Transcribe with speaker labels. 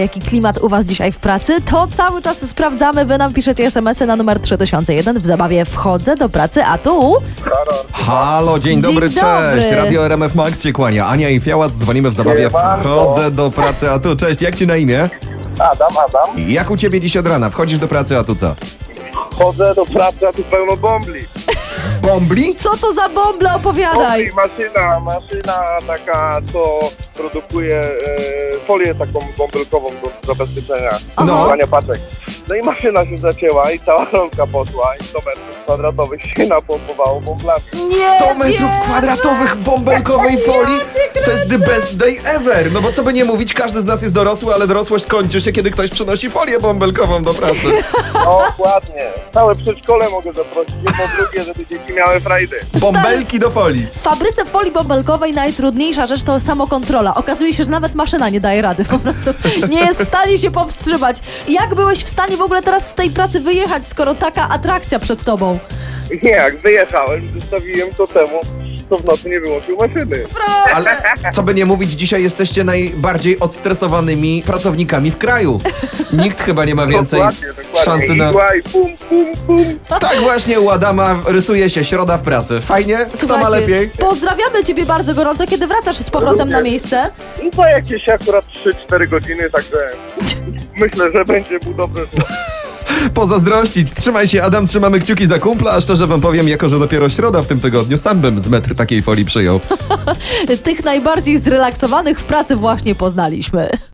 Speaker 1: jaki klimat u Was dzisiaj w pracy, to cały czas sprawdzamy. Wy nam piszecie SMS-y na numer 3001. W zabawie wchodzę do pracy, a tu
Speaker 2: Halo, dzień dobry,
Speaker 1: Dzień
Speaker 2: cześć!
Speaker 1: dobry.
Speaker 2: Radio RMF Max się kłania. Ania i Fiała, dzwonimy w zabawie.
Speaker 3: Siemanko.
Speaker 2: Wchodzę do pracy, a tu cześć, jak ci na imię?
Speaker 3: Adam, Adam.
Speaker 2: Jak u ciebie dziś od rana? Wchodzisz do pracy, a tu co?
Speaker 3: Chodzę do pracy, a tu pełno bombli.
Speaker 2: Bombli?
Speaker 1: co to za bombla opowiadaj?
Speaker 3: Bombli, maszyna, maszyna taka, co produkuje e, folię taką bąbelkową do zabezpieczenia
Speaker 1: Aha.
Speaker 3: zachowania paczek. No i maszyna się zacięła i cała rolka poszła i 100 metrów kwadratowych się napompowało bąblami.
Speaker 1: Nie
Speaker 2: 100 metrów
Speaker 1: wierzę.
Speaker 2: kwadratowych bąbelkowej folii? To jest the best day ever! No bo co by nie mówić, każdy z nas jest dorosły, ale dorosłość kończy się, kiedy ktoś przynosi folię bąbelkową do pracy.
Speaker 3: Dokładnie. No, Całe przedszkole mogę zaprosić. Jedno, drugie, żeby dzieci miały frajdy.
Speaker 2: Bąbelki do folii.
Speaker 1: W fabryce folii bąbelkowej najtrudniejsza rzecz to samokontrola. Okazuje się, że nawet maszyna nie daje rady, po prostu nie jest w stanie się powstrzymać. Jak byłeś w stanie w ogóle teraz z tej pracy wyjechać, skoro taka atrakcja przed tobą?
Speaker 3: Nie, jak wyjechałem, zostawiłem to temu, to w nocy nie wyłączył maszyny.
Speaker 2: Ale co by nie mówić, dzisiaj jesteście najbardziej odstresowanymi pracownikami w kraju. Nikt chyba nie ma więcej
Speaker 3: dokładnie, dokładnie.
Speaker 2: szansy na...
Speaker 3: Igła i pum, pum, pum.
Speaker 2: Tak właśnie u Adama rysuje się środa w pracy. Fajnie? Kto ma
Speaker 1: Słuchajcie,
Speaker 2: lepiej?
Speaker 1: Pozdrawiamy ciebie bardzo gorąco, kiedy wracasz z powrotem na miejsce.
Speaker 3: I No to jakieś akurat 3-4 godziny, także myślę, że będzie mu dobrze szło.
Speaker 2: Pozazdrościć. Trzymaj się, Adam, trzymamy kciuki za kumpla, a szczerze wam powiem, jako że dopiero środa w tym tygodniu, sam bym z metr takiej folii przyjął.
Speaker 1: Tych najbardziej zrelaksowanych w pracy właśnie poznaliśmy.